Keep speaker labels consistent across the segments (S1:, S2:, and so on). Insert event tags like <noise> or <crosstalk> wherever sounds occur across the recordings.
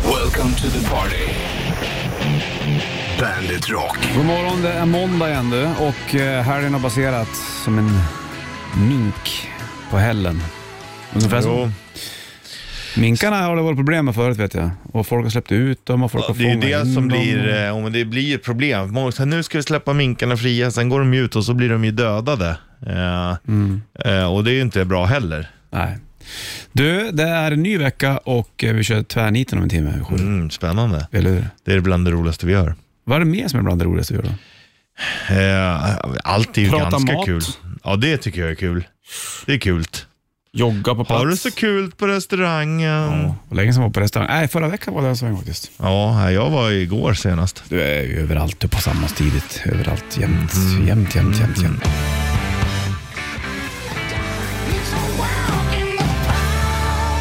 S1: Welcome to the party. Bandit Rock.
S2: God morgon, det är måndag igen du och eh, helgen har baserat som en mink på hällen. Ungefär så.
S3: Jo,
S2: Minkarna har det varit problem med förut vet jag. Och folk har släppt ut dem och folk har
S3: det är ju
S2: fångat
S3: det
S2: in dem.
S3: som blir, eh, om det blir problem. Många säger nu ska vi släppa minkarna fria, sen går de ju ut och så blir de ju dödade. Eh,
S2: Mm.
S3: eh, och det är ju inte bra heller.
S2: Nej. Du, det är en ny vecka och eh, vi kör tvärniten om en timme. Sju.
S3: Mm, spännande.
S2: Eller hur?
S3: Det är bland det roligaste vi gör.
S2: Vad är det mer som är bland det roligaste vi gör då?
S3: Eh, allt är ju
S2: Prata
S3: ganska
S2: mat.
S3: kul. Ja, det tycker jag är kul. Det är kul.
S2: Jogga på plats.
S3: Har du så kul på restaurangen?
S2: Ja, och länge sedan var jag på restaurang. Nej, förra veckan var det en sväng faktiskt.
S3: Ja, jag var igår senast.
S2: Du är ju överallt, du är på samma tidigt. Överallt, jämt, jämt, jämt, jämt. jämt.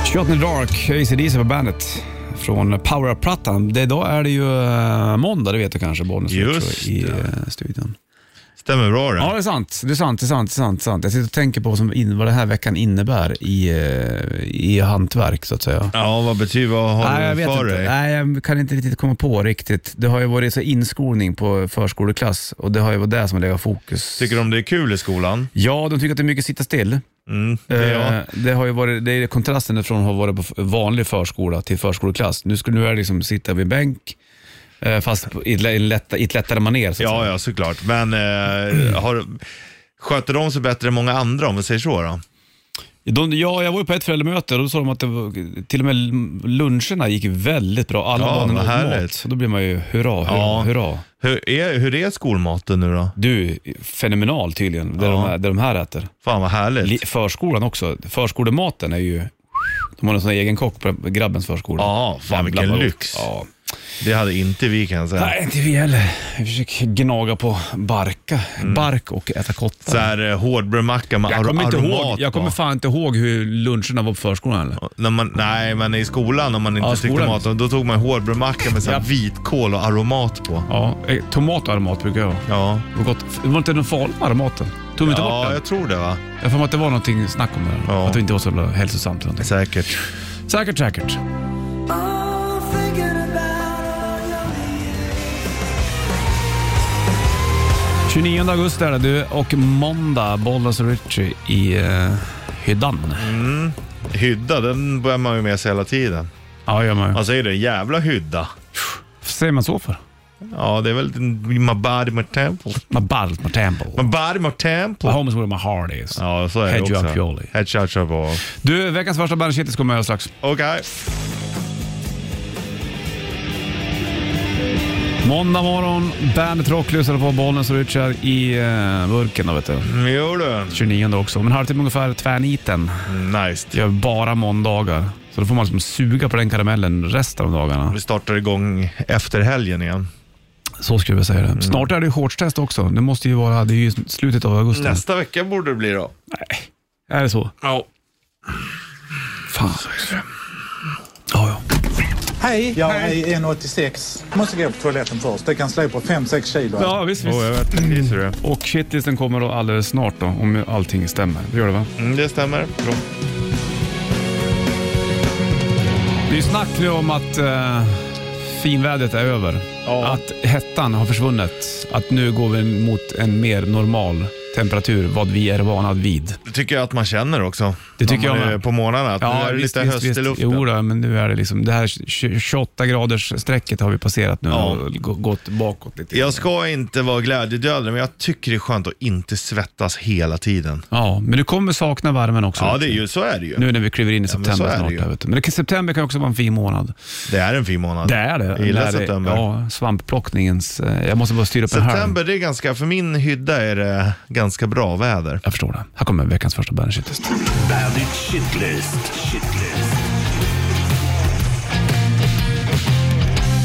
S2: Shot in the Dark, ACDC på bandet. Från Power Up-plattan. Det- Idag är det ju eh, måndag, det vet du kanske, Bollnäs
S3: Just
S2: i eh, studion.
S3: Stämmer bra det.
S2: Ja, det är sant. Det är sant, det är sant, det är sant. Det är sant. Jag sitter och tänker på vad som in, vad den här veckan innebär i, eh, i hantverk, så att säga.
S3: Ja, vad betyder, vad har
S2: Nej, jag
S3: du
S2: vet
S3: för
S2: inte.
S3: dig?
S2: Nej, jag kan inte riktigt komma på riktigt. Det har ju varit så inskolning på förskoleklass och det har ju varit det som har legat fokus.
S3: Tycker de det är kul i skolan?
S2: Ja, de tycker att det är mycket sitta still.
S3: Mm, det är jag.
S2: Eh, Det, har ju varit, det är kontrasten från att ha varit på f- vanlig förskola till förskoleklass. Nu, skulle, nu är det liksom sitta vid bänk, eh, fast på- i, ett lä- i, en lätta, i ett lättare manér. så att
S3: Ja,
S2: säga.
S3: ja, såklart. Men eh, har, sköter de sig bättre än många andra om vi säger så då?
S2: De, ja, jag var ju på ett föräldramöte och då sa de att det var, till och med luncherna gick ju väldigt bra. Alla
S3: Ja,
S2: barnen
S3: vad
S2: åt mat.
S3: härligt.
S2: Då blir man ju hurra, hurra,
S3: Ja.
S2: hurra.
S3: Hur är, hur är skolmaten nu då?
S2: Du, fenomenal tydligen, det,
S3: Ja.
S2: de, här- det de här äter.
S3: Fan vad härligt.
S2: Li- Förskolan också. Förskolematen är ju... De har en sån här egen kock på grabbens förskola.
S3: Ja, fan
S2: Jävlar
S3: vilken
S2: vad-
S3: lyx.
S2: Ja.
S3: Det hade inte vi kan jag säga.
S2: Nej, inte vi heller. Vi försöker gnaga på barka. bark och äta
S3: Mm. Så
S2: kottar.
S3: här eh, hårdbrödmacka med
S2: Jag
S3: ar-
S2: kommer, inte
S3: aromat
S2: ihåg, jag kommer
S3: på.
S2: fan inte ihåg hur luncherna var på förskolan. Eller?
S3: när man, nej, men i skolan om man inte
S2: Ja,
S3: tyckte
S2: skolan.
S3: om maten, då tog man hårdbrödmacka med så här
S2: Ja.
S3: vitkål och aromat på.
S2: Ja, eh, tomat och aromat brukar jag ha.
S3: Ja,
S2: Det var gott. Det var inte någon farlig med aromaten? Tog vi inte bort
S3: ja
S2: den?
S3: jag tror det va?
S2: Jag har för mig att det var någonting snack om det.
S3: Ja.
S2: Att det inte var så jävla hälsosamt. eller någonting.
S3: Säkert.
S2: Säkert, säkert.
S4: thinking about
S2: 29 augusti är det du och måndag, Bollnäs och Richie i eh, hyddan.
S3: Hydda, den börjar man ju med sig hela tiden.
S2: Ja, gör man ju.
S3: Man säger det, jävla hydda.
S2: säger man så för?
S3: Ja, det är väl my body, my temple.
S2: Man ballt med tempo.
S3: My body, my temple.
S2: My home is where my heart is.
S3: Ja, så är det
S2: Hedge
S3: också.
S2: up Jolly.
S3: Hedge up Jolly.
S2: Du, veckans första bandet kommer jag strax.
S3: Okej.
S2: Måndag morgon, bandet Rock lyssnar på Bollnäs och Richard i eh, burken då vet du.
S3: Okay. Jo du.
S2: 29 också. Om en halvtimme ungefär, tvärniten.
S3: Nice.
S2: Jag gör bara måndagar. Så då får man liksom suga på den karamellen resten av dagarna.
S3: Vi startar igång efter helgen igen.
S2: Så skulle jag säga det. Snart är det ju shortstest också. Det måste ju vara, det är ju slutet av augusti.
S3: Nästa vecka borde det bli då.
S2: Är det så?
S3: Ja.
S2: Fan. Ja, ja.
S5: Hej, jag är 1,86. Måste gå på toaletten först. Det kan slå på 5-6 kilo.
S2: Ja, visst, visst.
S3: Oh, jag vet precis hur det är.
S2: Och shitlisten kommer då alldeles snart då, om allting stämmer. Det gör det va?
S3: Mm, det stämmer. Bra.
S2: Det är ju snack nu om att eh, finvädret är över.
S3: Ja.
S2: Att hettan har försvunnit. Att nu går vi mot en mer normal temperatur, vad vi är vana vid.
S3: Det tycker jag att man känner också.
S2: Det tycker
S3: När man
S2: jag med.
S3: är På morgnarna. Att nu är det lite höst i luften.
S2: Jo då, men nu är det liksom, det här 28 graders strecket har vi passerat nu
S3: Ja.
S2: och gå- gått bakåt lite.
S3: Jag ska inte vara glädjedödare, men jag tycker det är skönt att inte svettas hela tiden.
S2: Ja, men du kommer sakna värmen också.
S3: Ja, det är ju, så är det ju.
S2: Nu när vi kliver in i
S3: Ja, men så
S2: september
S3: är det
S2: snart.
S3: ju.
S2: där, vet du. Men det kan, september kan också vara en fin månad.
S3: Det är en fin månad.
S2: Det är det.
S3: Jag gillar
S2: När det-
S3: september.
S2: Ja, svampplockningens... eh, Jag måste bara styra upp en här.
S3: September, det är ganska, för min hydda är det ganska bra väder.
S2: Jag förstår det. Här kommer veckans första Bandit Shitlist.
S1: Bandit Shitlist. Shitlist.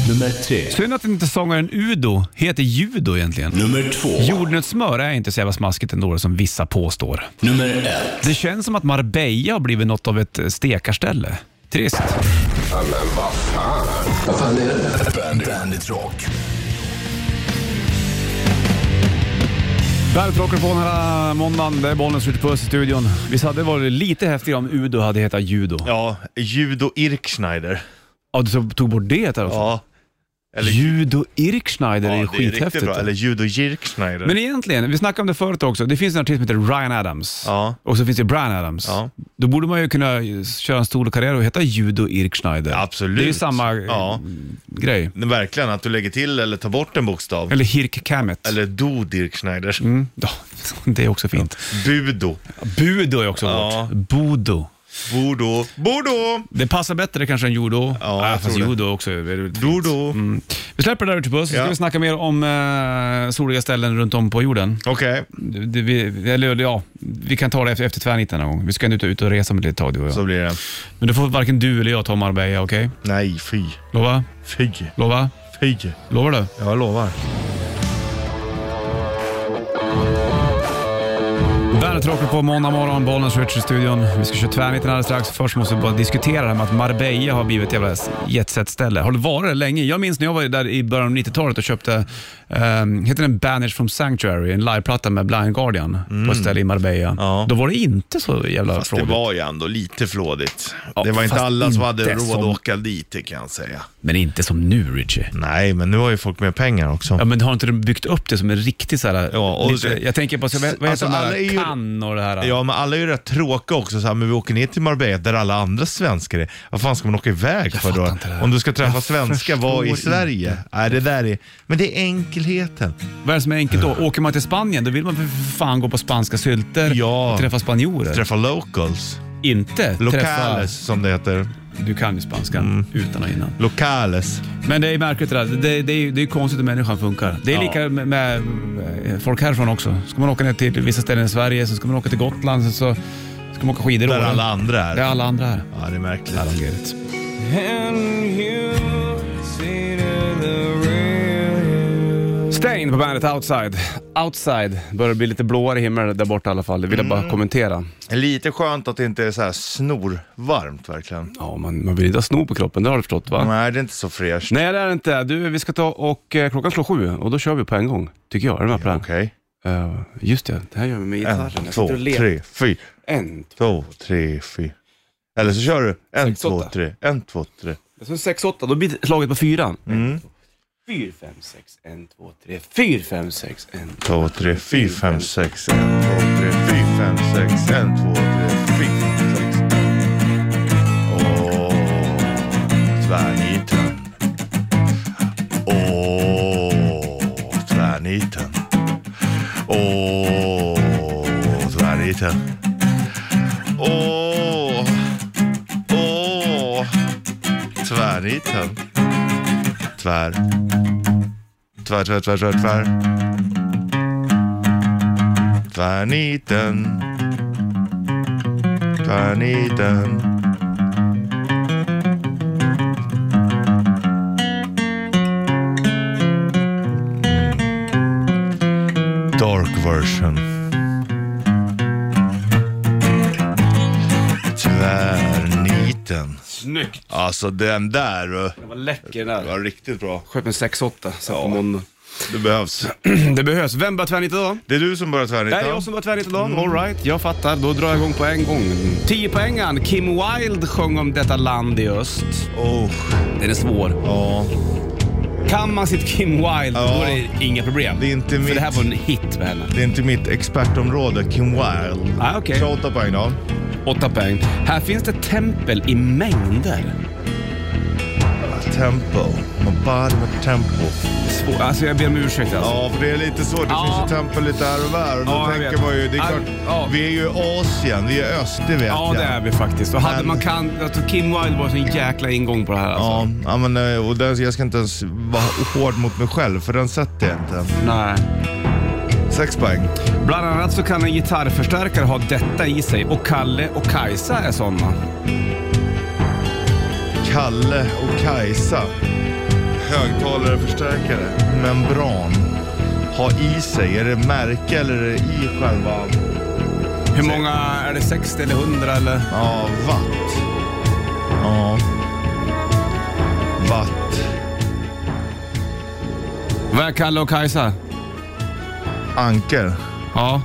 S1: Nummer tre.
S2: Synd att inte sångaren Udo heter Judo egentligen.
S1: Nummer två.
S2: Jordnötssmör är inte så jävla smaskigt ändå som vissa påstår.
S1: Nummer ett.
S2: Det känns som att Marbella har blivit något av ett eh, stekarställe. Trist.
S1: Vad fan är det? Bandit, Bandit Rock.
S2: Bandet rockar på den här eh, måndagen. Det är Bollnäs ute på Öst i studion. Visst hade det varit lite häftigare om Udo hade hetat Judo?
S3: Ja, Judo Irkschneider.
S2: Ja, Ja, du så- tog bort det därifrån?
S3: Ja. Eller,
S2: Judo Irkschneider är ju
S3: ja, det är riktigt
S2: skithäftigt.
S3: bra. Eller Judo Jirkschneider.
S2: Men egentligen, vi snackade om det förut också. Det finns en artist som heter Ryan Adams.
S3: Ja.
S2: Och så finns det Brian Adams.
S3: Ja.
S2: Då borde man ju kunna eh, köra en stor karriär och heta Judo Irkschneider.
S3: Ja, absolut.
S2: Det är ju samma eh,
S3: Ja.
S2: grej.
S3: Men Verkligen, att du lägger till eller tar bort en bokstav.
S2: Eller Hirk Kamet.
S3: Eller Do Dirkschneider.
S2: Mm. Ja, <laughs> det är också fint.
S3: Budo.
S2: Budo är också
S3: Ja.
S2: vårt. Bodo.
S3: Bodo. Bodo!
S2: Det passar bättre kanske än judo. Ah,
S3: Ja, jag
S2: fast
S3: tror det.
S2: judo också. är väl fint.
S3: Dodo.
S2: Mm. Vi släpper det där ute på oss, så ska
S3: Ja.
S2: vi snacka mer om eh, soliga ställen runt om på jorden.
S3: Okej,
S2: Det, det, vi, eller, ja, vi kan ta det efter, efter tvärnitten någon gång. Vi ska ändå ut, ut och resa med ett litet tag du och jag.
S3: så blir det.
S2: Men då får varken du eller jag ta Marbella, okej?
S3: Nej, fy.
S2: Lova?
S3: Fy.
S2: Lova?
S3: Fy.
S2: Lovar du?
S3: Jag lovar.
S2: Bandet rockar på måndag morgon, Bollnäs Richard studion. Vi ska köra tvärnitten alldeles strax. Först måste vi bara diskutera det här med att Marbella har blivit ett jävla jetset-ställe. Har det varit det länge? Jag minns när jag var där i början av 90-talet och köpte, um, heter den Banish from Sanctuary, en liveplatta med Blind Guardian på ett ställe i Marbella.
S3: Mm. Ja.
S2: Då var det inte så jävla
S3: Fast
S2: frågigt.
S3: det var ju ändå lite flådigt.
S2: Ja,
S3: det var inte
S2: fast
S3: alla som hade
S2: inte
S3: råd
S2: som-
S3: att åka dit, det kan jag säga.
S2: Men inte som nu Richie.
S3: Nej, men nu har ju folk mer pengar också.
S2: Ja, men har inte de byggt upp det som en riktig så här,
S3: Ja, och-
S2: lite, Jag tänker på, så, vad heter
S3: Alltså,
S2: de
S3: alla är
S2: här,
S3: ju-
S2: Cannes och det här?
S3: Ja, men alla är ju rätt tråkiga också. Så här, men vi åker ner till Marbella där alla andra svenskar är. Vad fan ska man åka iväg för
S2: fattar
S3: då?
S2: inte det här.
S3: Om du ska träffa
S2: Jag
S3: svenskar, var i
S2: förstår
S3: Sverige? Nej, det där är... Men det är enkelheten.
S2: Vad är det som är enkelt då? Åker man till Spanien, då vill man för fan gå på spanska sylter
S3: Ja.
S2: och träffa spanjorer.
S3: Träffa locals.
S2: Inte
S3: Locales, som det heter.
S2: träffa... Du kan ju spanskan utan och innan.
S3: Locales.
S2: Mm. Men det är märkligt det där. Det, det, är, ju- det är ju konstigt hur människan funkar. Det är
S3: Ja.
S2: lika med, med eh, folk härifrån också. Ska man åka ner till vissa ställen i Sverige, sen ska man åka till Gotland, sen så ska man åka skidor. i
S3: Där
S2: Åre.
S3: alla andra är.
S2: Det är alla andra här.
S3: Ja, det är märkligt.
S2: Ja, de gör det. Stain på bandet Outside. Outside börjar bli lite blåare himmel där borta i alla fall. Det vill jag bara kommentera.
S3: Lite skönt att det inte är så här snorvarmt verkligen.
S2: Ja, man, man vill inte ha snor på kroppen, det har du förstått va?
S3: Nej, det är inte så fräscht.
S2: Nej, det är det inte. Du, vi ska ta och eh, klockan slår sju och då kör vi på en gång. Tycker jag. Är du med på den?
S3: Okej.
S2: Eh, just det, det här gör vi med gitarren.
S3: En,
S2: Jag
S3: två,
S2: sitter och letar.
S3: tre, fyra.
S2: En, två.
S3: Två, tre, fyra. Eller så kör du en,
S2: Sex,
S3: två,
S2: åtta.
S3: tre. En, två, tre.
S2: Det är sex, åtta. Då blir slaget på fyran.
S3: Mm.
S2: Fyra, fem, sex, en, två, tre. Fyra, fem, sex, en.
S3: två, tre, fyra, fem, sex. En, två, tre, fyra, fem, sex. En, två, tre, fyra, fem, sex. Åh, tvärniten. Åh, tvärniten. Åh, tvärniten. Åh, åh, tvärniten. Tvär. Tvär, tvär, tvär, tvär, tvär. Tvärniten. Tvärniten. Dark version. Tvärniten.
S2: Snyggt!
S3: Alltså den där du.
S2: Den var läcker den
S3: Det
S2: där.
S3: var riktigt bra.
S2: Sköt med sex, åtta. Så på måndag.
S3: Det behövs.
S2: <clears throat> Det behövs. Vem börjar tvärnita då?
S3: Det är du som börjar
S2: Det
S3: tvärnita.
S2: är jag som börjar tvärnita då. All right, jag fattar. Då drar jag igång på en gång. 10 poängen. Kim Wilde sjöng om detta land i öst.
S3: Oh,
S2: Den är svår.
S3: ja.
S2: Kan man sitt Kim Wilde,
S3: Ja.
S2: då är det inga problem.
S3: Det är inte
S2: För
S3: mitt.
S2: det här var en hit med henne.
S3: Det är inte mitt expertområde, Kim Wilde.
S2: Ah, okej.
S3: 28 poäng då.
S2: Åtta poäng. Här finns det tempel i mängder.
S3: Tempo. My body, my tempo.
S2: Svår. Alltså jag ber om ursäkt alltså.
S3: Ja, för det är lite svårt. Det
S2: Ja.
S3: finns ju tempo lite här och där. Och då
S2: Ja, jag
S3: tänker
S2: vet.
S3: man ju, det är
S2: Ja,
S3: klart,
S2: ja.
S3: vi är ju i Asien, vi är öst, det vet
S2: Ja,
S3: jag.
S2: det är vi faktiskt. Och hade
S3: Men-
S2: man kan, jag tror Kim Wilde var en jäkla ingång på det här alltså.
S3: Ja, ja, men eh, och där, jag ska inte ens vara hård mot mig själv, för den sätter jag inte.
S2: Nej.
S3: Sex poäng.
S2: Bland annat så kan en gitarrförstärkare ha detta i sig och Kalle och Kajsa är sådana.
S3: Kalle och Kajsa. Högtalare, förstärkare, membran. Ha i sig, är det märke eller är det i själva
S2: Hur många, är det 60 eller 100 eller?
S3: ja, watt? Ja. Watt.
S2: Vad är Kalle och Kajsa?
S3: Anker.
S2: Ja.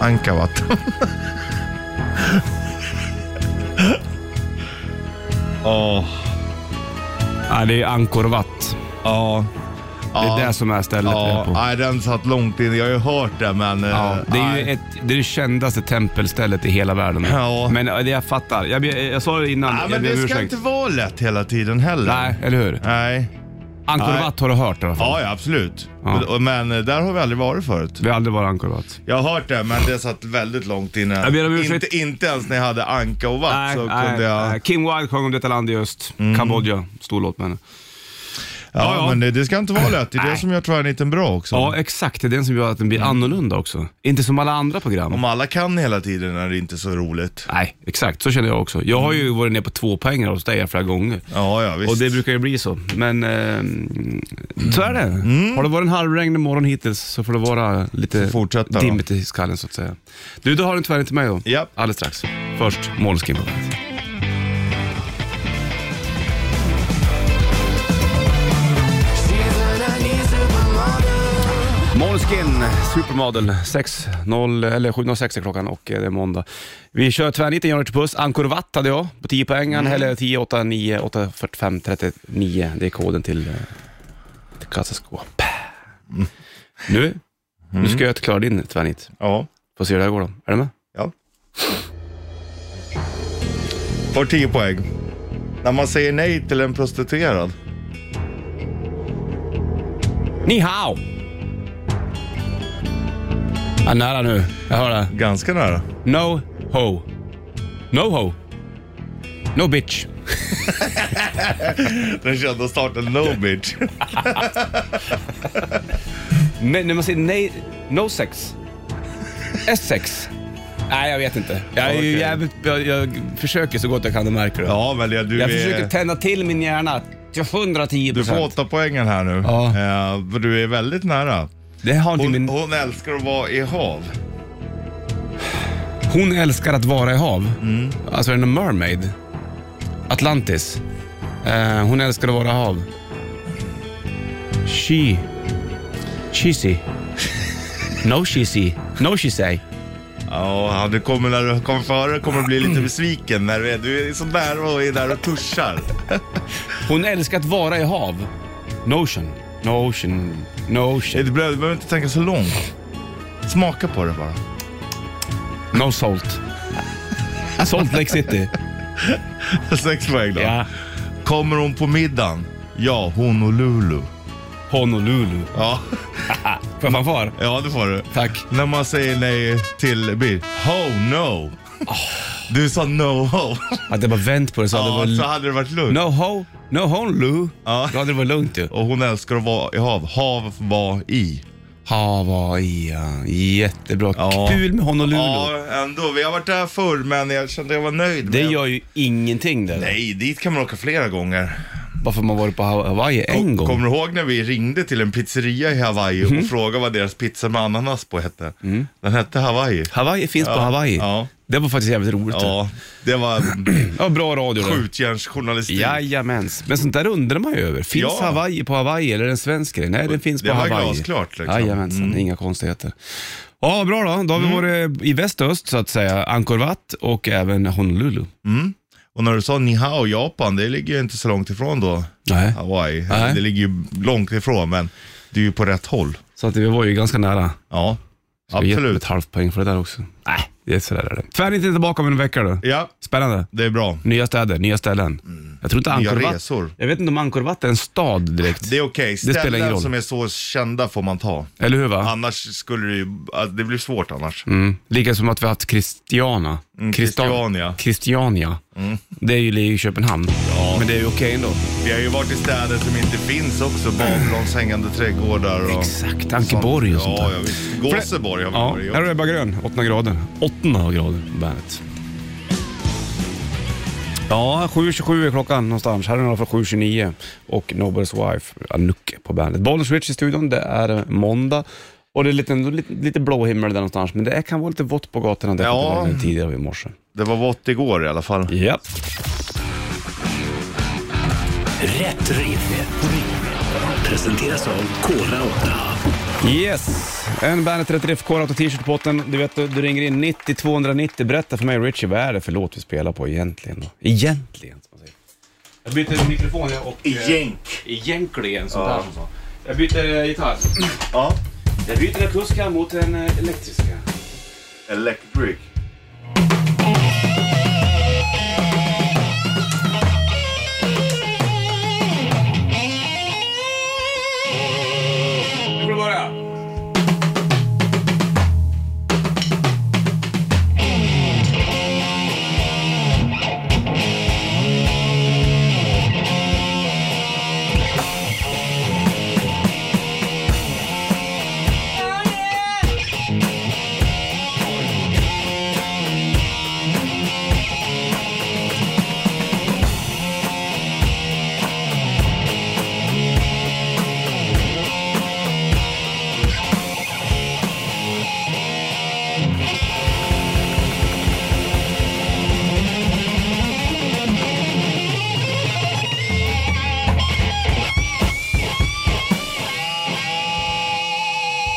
S3: Ankavat. <laughs> Ja.
S2: Nej, det är Angkor Wat.
S3: Ja.
S2: Det är det som är stället vi är
S3: Ja,
S2: på.
S3: nej, den satt långt in. Jag har ju hört det, men...
S2: Ja,
S3: eh,
S2: det är
S3: nej.
S2: ju ett, det, är det kändaste tempelstället i hela världen.
S3: Ja.
S2: Men eh, det jag fattar. Jag, be- jag sa det innan,
S3: Nej,
S2: jag
S3: men
S2: ber
S3: det
S2: om
S3: ska
S2: ursäkt.
S3: inte vara lätt hela tiden heller.
S2: Nej, eller hur?
S3: Nej.
S2: Angkor
S3: Nej.
S2: Wat har du hört i alla fall.
S3: Ja, ja absolut.
S2: Ja.
S3: Och- och- Men eh, där har vi aldrig varit förut.
S2: Vi har aldrig varit i Angkor Wat.
S3: Jag har hört det, men det satt väldigt långt inne.
S2: Jag ber om ursäkt.
S3: inte, inte ens när jag hade anka och vatt
S2: Nej,
S3: så
S2: nej,
S3: kunde jag... Mm.
S2: nej. Kim Wilde sjöng om detta land i öst. Kambodja, stor låt men.
S3: Ja,
S2: Ja, ja.
S3: men det, det ska inte vara lätt. Det är det
S2: Nej.
S3: som gör tvärniten bra också.
S2: Ja, exakt. Det är den som gör att den blir annorlunda också. Inte som alla andra program.
S3: Mm. Om alla kan hela tiden är det inte så roligt.
S2: Nej, exakt. Så känner jag också. Jag har ju varit ner på två poäng hos dig flera gånger.
S3: Ja, ja visst.
S2: Och det brukar ju bli så. Men eh, så är det.
S3: Mm.
S2: Har det varit en halvregnig morgon hittills så får det vara lite
S3: fortsätta då.
S2: dimmigt i skallen så att säga. Du, då har du en tvärnit till mig då.
S3: Ja.
S2: Alldeles strax. Först Måneskin på bandet. Måneskin, Supermodel, 6.0, eller 7.06 är klockan och eh, det är måndag. Vi kör tvärniten, Jan Richard Puss. Angkor Wat hade jag på 10 poängen, eller 10, 8, 9, 8, 45, 39. Det är koden till, eh, till kassaskåp. Nu, nu ska jag klara din tvärnit.
S3: Ja.
S2: Får se hur det här går då. Är du med?
S3: ja. Får 10 poäng. När man säger nej till en prostituerad.
S2: Ni hao! Ja, nära nu. Jag hör det.
S3: Ganska nära.
S2: No ho. No ho. No bitch.
S3: Den kända starten <laughs> No Bitch.
S2: Nej, när man säger nej, no sex. S6. Nej, jag vet inte. Jag, är ju
S3: Okej.
S2: jävligt, jag, jag försöker så gott jag kan, det märker du.
S3: Ja, men det, du
S2: jag
S3: är...
S2: försöker tända till min hjärna till 110
S3: Du får åtta poängen här nu.
S2: Ja.
S3: Eh, för du är väldigt nära.
S2: Det har inte
S3: Hon,
S2: min...
S3: hon älskar att vara i hav.
S2: Hon älskar att vara i hav.
S3: Mm.
S2: Alltså, är det någon mermaid? Atlantis. Eh, hon älskar att vara i hav. She. Cheesy. No cheesy. No she say.
S3: Ja, du kommer när du kommer före kommer du bli lite besviken. När du, är, du är så nära och är där och tuschar.
S2: Hon älskar att vara i hav. Notion. Notion.
S3: Du
S2: Notion.
S3: behöver du behöver inte tänka så långt. Smaka på det bara. <laughs>
S2: No salt. Salt Lake City.
S3: Sex poäng då. Kommer hon på middagen? Ja, hon och Lulu.
S2: Honolulu.
S3: Ja,
S2: Får jag fanfar?
S3: ja det får du.
S2: Tack.
S3: När man säger nej till bil. Ho no. Du sa no ho.
S2: Att jag bara vänt på det så hade det
S3: Ja,
S2: varit...
S3: så hade det varit lugnt.
S2: No ho. No Honolulu.
S3: Ja.
S2: Då hade det varit lugnt ju.
S3: Och hon älskar att vara i hav. Hav var i.
S2: Hawaii, ja. Jättebra.
S3: Ja.
S2: Kul med Honolulu.
S3: Ja, ändå. Vi har varit där förr, men jag kände jag var nöjd.
S2: Det
S3: med-
S2: gör ju ingenting där.
S3: Nej, dit kan man åka flera gånger.
S2: Varför man varit på Hawaii en gång. Mm.
S3: Kommer du ihåg när vi ringde till en pizzeria i Hawaii och frågade vad deras pizza med ananas på hette? Den hette Hawaii.
S2: Hawaii finns på Hawaii.
S3: Ja.
S2: Det var faktiskt jävligt roligt. Ja,
S3: Ja, det var
S2: <clears throat> ja bra radio det.
S3: skjutjärnsjournalistik.
S2: Jajamens, men sånt där undrar man ju över. Finns
S3: Ja.
S2: Hawaii på Hawaii eller är det en svensk grej? Nej, den finns
S3: Det
S2: på
S3: var
S2: Hawaii.
S3: glasklart, liksom. Mm.
S2: Jajamensan, inga konstigheter. Ja, bra då. Då har vi varit i väst och öst så att säga. Angkor Wat och även Honolulu.
S3: Och när du sa Nihao, Japan, det ligger ju inte så långt ifrån då.
S2: Nej.
S3: Hawaii.
S2: Nej.
S3: Det ligger ju långt ifrån, men det är ju på rätt håll.
S2: Så att vi var ju ganska nära.
S3: Ja,
S2: Jag har gett ett
S3: absolut.
S2: halvt poäng för det där också. Nej, det är sådär är det. Tvärnit är tillbaka om en vecka då.
S3: Ja,
S2: Spännande.
S3: det är bra.
S2: Nya städer, nya ställen. Jag tror inte
S3: Nya
S2: Angkor Wat...
S3: resor.
S2: Jag vet inte om Angkor Wat är en stad direkt.
S3: Det är okej.
S2: spelar ingen
S3: Ställen
S2: roll.
S3: som är så kända får man ta.
S2: Eller hur va?
S3: Annars skulle det ju, alltså, det blir svårt annars.
S2: Mm. Lika som att vi har haft Christiana.
S3: Mm,
S2: Christa-
S3: Christiania.
S2: Christiania. Mm. Det är ju ligger i Köpenhamn. Men det är ju okej ändå.
S3: Vi har ju varit i städer som inte finns också. Babylons hängande trädgårdar och...
S2: Exakt, Ankeborg och sånt
S3: Ja,
S2: där.
S3: ja visst. Gåseborg har vi
S2: Ja,
S3: varit
S2: här
S3: i.
S2: är Ebba Grön, 8 grader. 8 grader på bandet. Ja, 7.27 är klockan någonstans. Här är några från 7.29 och Nobody's Wife, Anouk på bandet. Bollnäs Switch i studion, det är måndag. Och det är lite, lite, lite blå himmel där någonstans, men det är, kan vara lite vått på gatorna. Det
S3: Ja.
S2: var det tidigare i morse.
S3: Det var vått igår i alla fall.
S2: Japp.
S1: Rätt riff. Presenteras av Kora 8.
S2: Yes! En Bandet 30 FK har t shirt på botten. Du vet, du ringer in 90 290. Berätta för mig Richie, vad är det för låt vi spelar på egentligen? Då? Egentligen, som man säger. Jag byter mikrofon jag och... eh,
S4: Jänk.
S2: Egentligen, sånt
S4: Ja.
S2: där som så. Jag byter eh, gitarr.
S4: Ja.
S2: Jag byter kuska mot den eh, elektriska.
S4: Electric.
S2: Nu får du börja.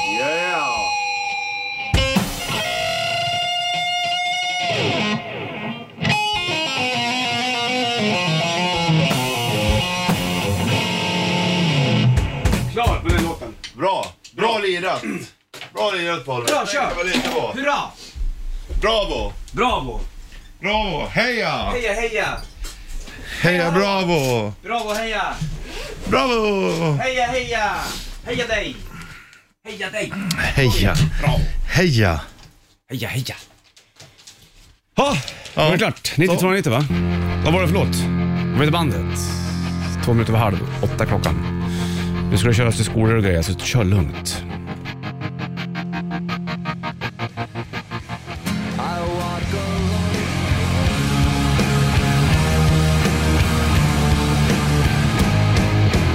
S4: Yeah!
S2: Klar med den låten.
S4: Bra! Bra lirat! Bra lirat Paul.
S2: Bra, kör!
S4: Det var lite bra.
S2: Hurra!
S4: Bravo!
S2: Bravo!
S3: Bravo! Heja!
S2: Heja, heja!
S3: Heja bravo!
S2: Bravo, heja!
S3: Bravo!
S2: Heja, heja! Heja dig! Heja dig!
S3: Heja! Heja!
S2: Heja, heja! Ha! Då var det klart. 92.90 va? Vad var det för låt? Vad heter bandet? Två minuter över halv åtta klockan. Nu ska det köras till skolor och grejer, så kör lugnt.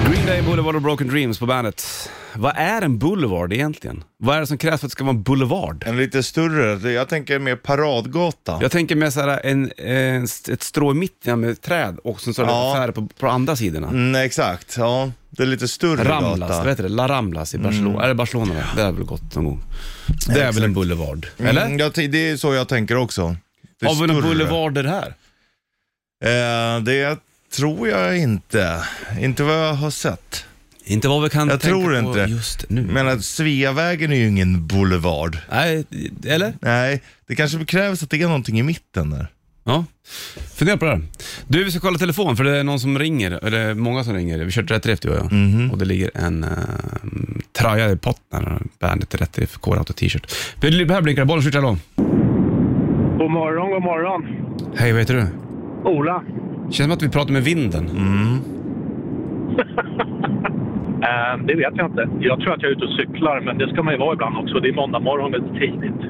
S2: Green Day Boulevard och Broken Dreams på bandet. Vad är en boulevard egentligen? Vad är det som krävs för att det ska vara en boulevard?
S3: En lite större, jag tänker mer paradgata.
S2: Jag tänker med så här en, en, ett strå i mitten med träd och sen så är det
S3: Ja.
S2: affärer på, på andra sidorna.
S3: Mm, exakt, ja. Det är lite större
S2: Ramblas, vad
S3: gata. Mm.
S2: heter det? La Ramblas i Barcelona. Är det Barcelona? va? Det är väl gott någon gång. Det är väl en boulevard? Eller?
S3: Mm, jag, t- det är så jag tänker också. Det är
S2: Har vi någon
S3: större.
S2: boulevarder här?
S3: Eh, det tror jag inte. Inte vad jag har sett.
S2: Inte vad vi kan
S3: Jag
S2: tänka
S3: tror
S2: på
S3: inte.
S2: just nu.
S3: Men att Sveavägen är ju ingen boulevard.
S2: Nej, eller?
S3: Nej, det kanske krävs att det är någonting i mitten där.
S2: Ja. Fundera på det här. Du, vi ska kolla telefon för det är någon som ringer, eller många som ringer. Vi körde rätt riff du och jag. Och det ligger en uh, tröja i potten, bandet rätt riff, k t-shirt. Vill du här blinkar bollen, skjut hallå.
S6: God morgon, god morgon.
S2: Hej, vad heter du?
S6: Ola.
S2: Känns som att vi pratar med vinden.
S6: Eh, det vet jag inte. Jag tror att jag är ute och cyklar, men det ska man ju vara ibland också. Det är måndag morgon väldigt tidigt.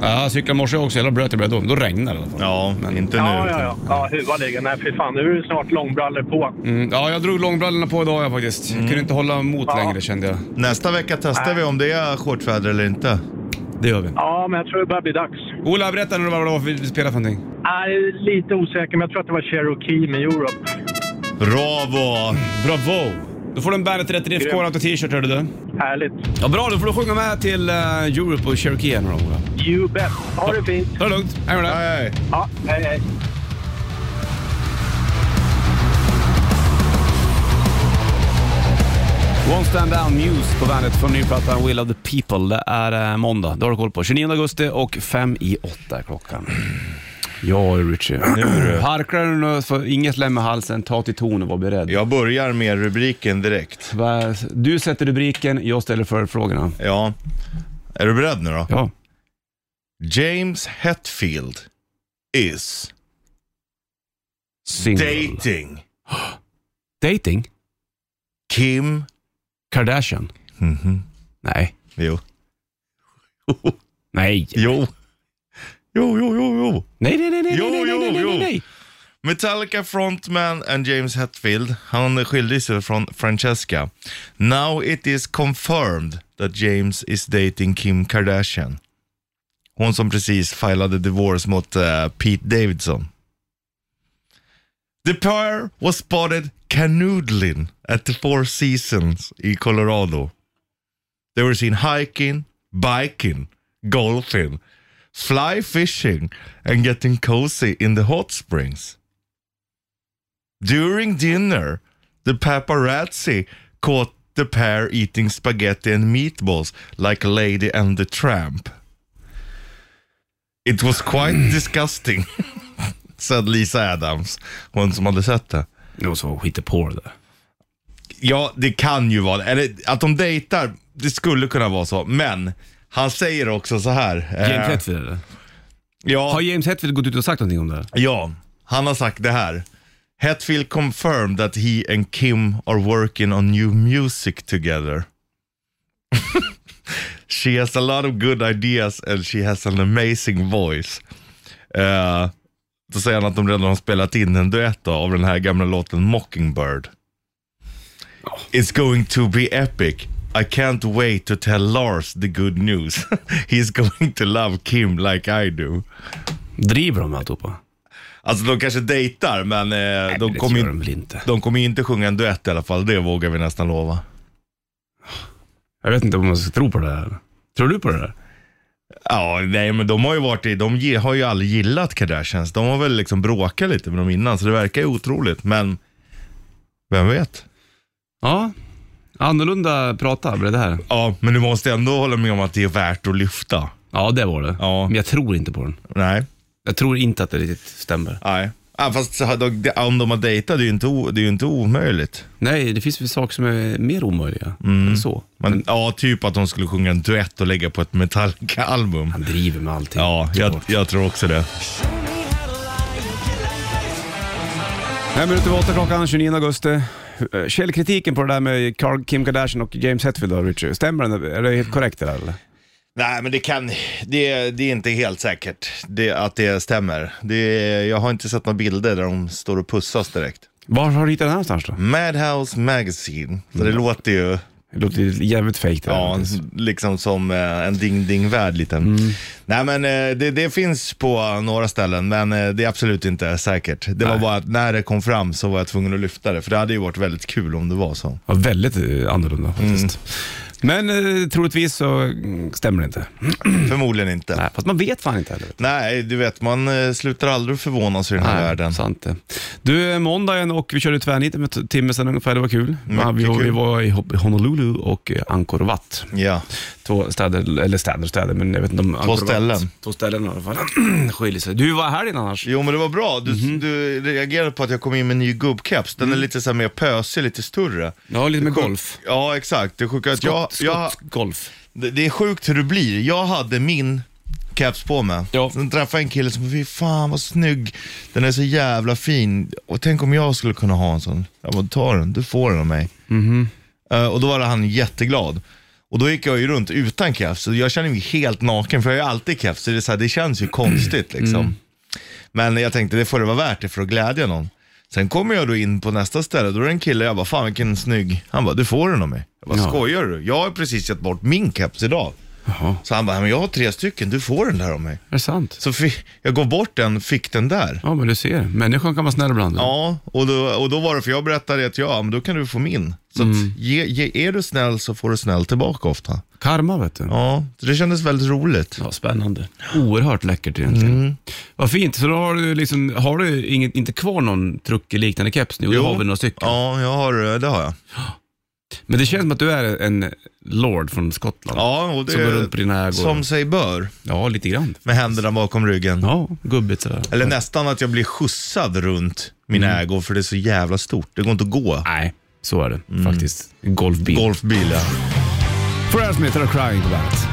S2: Ja, jag cyklade i morse också, jävla bröt jag blev då. Då regnade det i alla fall.
S3: Ja, men inte nu.
S6: Ja, ja, ja. ja huva ligger. Nej, för fan. Nu är det snart långbrallor på.
S2: Mm, ja, jag drog långbrallorna på idag jag faktiskt. Kunde inte hålla emot
S6: Ja.
S2: längre kände jag.
S3: Nästa vecka testar vi om det är shortsväder eller inte.
S2: Det gör vi.
S6: Ja, men jag tror det börjar bli dags.
S2: Ola, berätta nu vad det var vi spelade för någonting.
S6: Nej, lite osäker, men jag tror att det var Cherokee med Europe.
S3: Bravo!
S2: Bravo! Då får du en Bandet Rätt Riff
S6: Grymt.
S2: Core Out T-shirt, hörde du.
S6: Härligt.
S2: Ja, bra. Då får du sjunga med till eh, Europe och Cherokee här nu då, Ola.
S6: You bet. Ha det fint.
S2: Ta det lugnt. Hej med dig.
S3: Hej, hej.
S6: Ja, hej, hej.
S2: One Stand Down Muse på bandet från nyplattan Will of the People. Det är eh, måndag, det har du koll på. 29 augusti och fem i åtta är klockan. Ja, Richie. Harklar du nu, så inget lem i halsen, ta till ton och var beredd.
S3: Jag börjar med rubriken direkt.
S2: Va- Du sätter rubriken, jag ställer följdfrågorna.
S3: Ja. Är du beredd nu då?
S2: Ja.
S3: James Hetfield is
S2: Single.
S3: dating
S2: Dating?
S3: Kim...
S2: Kardashian?
S3: Mhm.
S2: Nej.
S3: Jo.
S2: Nej.
S3: Jo. Jo, jo, jo, jo.
S2: Nej, nej, nej, nej,
S3: Jo,
S2: nej, nej,
S3: jo,
S2: nej, nej,
S3: jo.
S2: nej, nej.
S3: Metallica frontman and James Hetfield, han skilde sig från Francesca. Now it is confirmed that James is dating Kim Kardashian. Hon som precis filade divorce mot eh, Pete Davidson. The pair was spotted canoodling at the Four Seasons i Colorado. They were seen hiking, biking, golfing, fly fishing and getting cozy in the hot springs. During dinner, the paparazzi caught the pair eating spaghetti and meatballs like Lady and the Tramp. It was quite disgusting, <laughs> said Lisa Adams, hon som hade sett det.
S2: Det så hitta på det där.
S3: Ja, det kan ju vara Eller att de dejtar, det skulle kunna vara så. Men han säger också så här.
S2: James
S3: eh,
S2: Hetfield eller?
S3: ja,
S2: Har James Hetfield gått ut och sagt någonting om det här?
S3: ja, han har sagt det här. Hetfield confirmed that he and Kim are working on new music together. <laughs> she has a lot of good ideas and she has an amazing voice. Eh, då säger han att de redan har spelat in en duett då, av den här gamla låten Mockingbird. It's going to be epic. I can't wait to tell Lars the good news. <laughs> He's going to love Kim like I do.
S2: Driver de med alltihopa?
S3: Alltså de kanske dejtar, men eh, de
S2: det
S3: kommer
S2: gör
S3: ju
S2: de väl inte.
S3: de kommer ju inte sjunga en duett i alla fall. Det vågar vi nästan lova.
S2: Jag vet inte om man ska tro på det här. Tror du på det där?
S3: Ja, nej men de har ju varit i, de ge, har ju aldrig gillat Kardashians. De har väl liksom bråkat lite med dem innan, så det verkar ju otroligt. Men vem vet?
S2: Ja. Annorlunda prata blev det här.
S3: Ja, men du måste ändå hålla med om att det är värt att lyfta.
S2: Ja, det var det.
S3: Ja.
S2: Men jag tror inte på den.
S3: Nej,
S2: Jag tror inte att det riktigt stämmer.
S3: nej. Ja, fast så har de, det- om de har dejtat, det är ju inte, o- det är ju inte omöjligt.
S2: Nej, det finns väl saker som är mer omöjliga än så.
S3: Mm. Men, ja, typ att de skulle sjunga en duett och lägga på ett Metallica-album.
S2: Han driver med allting.
S3: Ja, jag, jag tror också det.
S2: Fem minuter över åtta klockan 29 augusti. Eh, Källkritiken på det där med Kar- Kim Kardashian och James Hetfield då, Richard. Stämmer den? Är det helt korrekt det där eller?
S3: Nej, men det kan, det, det är inte helt säkert det, att det stämmer. Det, jag har inte sett några bilder där de står och pussas direkt.
S2: Var har du hittat den här någonstans då?
S3: Madhouse Magazine, så det låter ju
S2: Det låter ju jävligt fejk det där.
S3: ja, liksom som eh, en ding-ding-värld lite. Nej, men eh, det, det finns på några ställen, men eh, det är absolut inte säkert. Det var
S2: Nej.
S3: bara att när det kom fram så var jag tvungen att lyfta det, för det hade ju varit väldigt kul om det var så.
S2: Ja, väldigt eh, annorlunda
S3: Mm.
S2: faktiskt. Men eh, troligtvis så mm, stämmer det inte.
S3: Förmodligen inte. Nej.
S2: Nej, fast man vet fan inte heller.
S3: du vet, man eh, slutar aldrig förvånas i den här världen.
S2: sant det. Du, eh, måndagen och vi körde tvärnit med en timme sedan ungefär, det var kul. Ja, vi, var,
S3: kul.
S2: vi var i Ho- Honolulu och eh, Angkor Wat.
S3: Ja.
S2: Två städer, eller städer och städer, men jag vet inte om Angkor Wat-
S3: ställen.
S2: Två ställen i alla fall. <clears throat> Skiljer sig. Du var här innan annars.
S3: Jo men det var bra, du,
S2: Mhm.
S3: du reagerade på att jag kom in med en ny gubbkeps. Den är lite så här mer pösig, lite större.
S2: Mm. Ja, lite med
S3: Sjuk-
S2: golf.
S3: Ja exakt, det är sjukt att jag,
S2: Skott,
S3: jag,
S2: skott, golf.
S3: det, det är sjukt hur det blir. Jag hade min keps på mig.
S2: Ja.
S3: Sen träffade jag en kille som fy fan vad snygg, den är så jävla fin. Och tänk om jag skulle kunna ha en sån. Jag bara, ta den, du får den av mig.
S2: Mhm.
S3: Eh, och då var han jätteglad. Och då gick jag ju runt utan keps, så jag känner mig helt naken, för jag har ju alltid keps, så det, är så här, det känns ju konstigt
S2: Mm.
S3: liksom. Men jag tänkte det får det vara värt det för att glädja någon. Sen kommer jag då in på nästa ställe, då är det en kille, jag bara fan vilken snygg. Han bara, du får den av mig. Jag bara,
S2: Ja.
S3: skojar du? Jag har precis gett bort min keps idag.
S2: Jaha,
S3: Så han bara, men jag har tre stycken, du får den där av mig.
S2: är det sant?
S3: Så fi- jag går bort den, fick den där.
S2: Ja, men du ser. Människan kan vara snäll ibland.
S3: Ja, och då, och då var det för jag berättade att ja, men då kan du få min. Så
S2: Mm.
S3: att, ge, ge, är du snäll så får du snäll tillbaka ofta.
S2: Karma, vet du.
S3: Ja, så det kändes väldigt roligt.
S2: Ja, spännande. Oerhört läckert egentligen.
S3: Mm.
S2: Vad fint. Så då har du, liksom, har du inget, inte kvar någon truckerliknande keps nu? Jo.
S3: Jo.
S2: Du har väl några stycken?
S3: Ja, jag har, det har jag.
S2: Men det känns som att du är en lord från Skottland.
S3: Ja, och
S2: Som går runt på
S3: det,
S2: dina ägor.
S3: som sig bör,
S2: Ja, lite grann.
S3: med händerna bakom ryggen.
S2: Ja, gubbigt sådär.
S3: Eller nästan att jag blir skjutsad runt mina ägor för det är så jävla stort. Det går inte att gå.
S2: Mm. Nej, så är det
S3: Mm.
S2: faktiskt. Golfbil. Golf.
S3: Golfbil ja.
S2: För Smith och Crying på bandet.